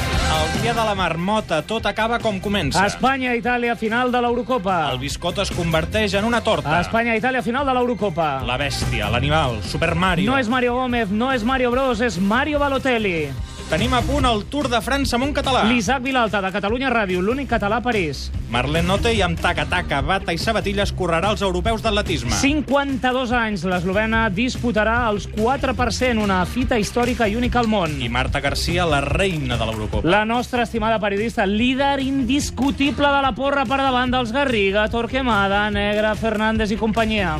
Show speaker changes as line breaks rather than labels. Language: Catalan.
guàrdia de la marmota. Tot acaba com comença.
Espanya, Itàlia, final de l'Eurocopa.
El biscot es converteix en una torta.
Espanya, Itàlia, final de l'Eurocopa.
La bèstia, l'animal, Super Mario.
No és Mario Gómez, no és Mario Bros, és Mario Balotelli.
Tenim a punt el Tour de França amb un català.
L'Isaac Vilalta, de Catalunya Ràdio, l'únic català a París.
Marlene Note i amb taca-taca, bata i sabatilles correrà els europeus d'atletisme.
52 anys, l'eslovena disputarà els 4%, una fita històrica i única al món.
I Marta Garcia, la reina de l'Eurocopa.
La nostra estimada periodista, líder indiscutible de la porra per davant dels Garriga, Torquemada, Negra, Fernández i companyia.